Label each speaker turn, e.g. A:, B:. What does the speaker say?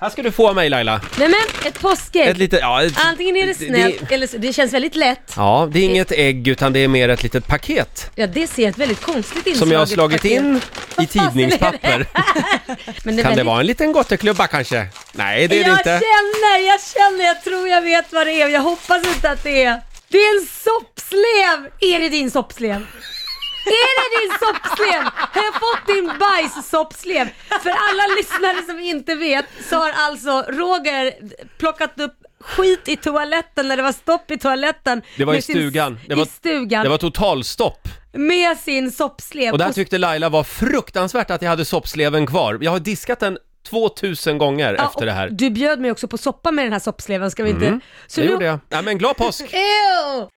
A: Här ska du få av mig Laila.
B: Nej men, ett påskägg.
A: Ett litet, ja, ett,
B: Antingen är det snällt eller så, det känns väldigt lätt.
A: Ja, det är inget ägg utan det är mer ett litet paket
B: Ja, det ser ett väldigt konstigt inslag
A: som jag har
B: ut
A: slagit
B: faktiskt.
A: in i tidningspapper.
B: Men det är
A: Kan det
B: väldigt-
A: vara en liten gotteklubba kanske? Nej, det är det
B: jag
A: inte.
B: känner, jag känner, jag tror jag vet vad det är. Jag hoppas inte att det är. Det är en soppslev! Är det din soppslev? Är det din soppslev? Har jag fått din bajssoppslev? För alla lyssnare som inte vet så har alltså Roger plockat upp skit i toaletten när det var stopp i toaletten.
A: Det var i
B: med sin-
A: stugan. Det var,
B: I stugan.
A: Det var totalstopp.
B: Med sin soppslev.
A: Och där tyckte Laila var fruktansvärt att jag hade soppsleven kvar. Jag har diskat den 2000 gånger
B: Ja,
A: efter det
B: och
A: här. Mm.
B: Du bjöd mig också på soppa med den här soppsleven, ska vi inte... Så
A: Det
B: nu...
A: gjorde jag. Nej men glad påsk!
B: Ew!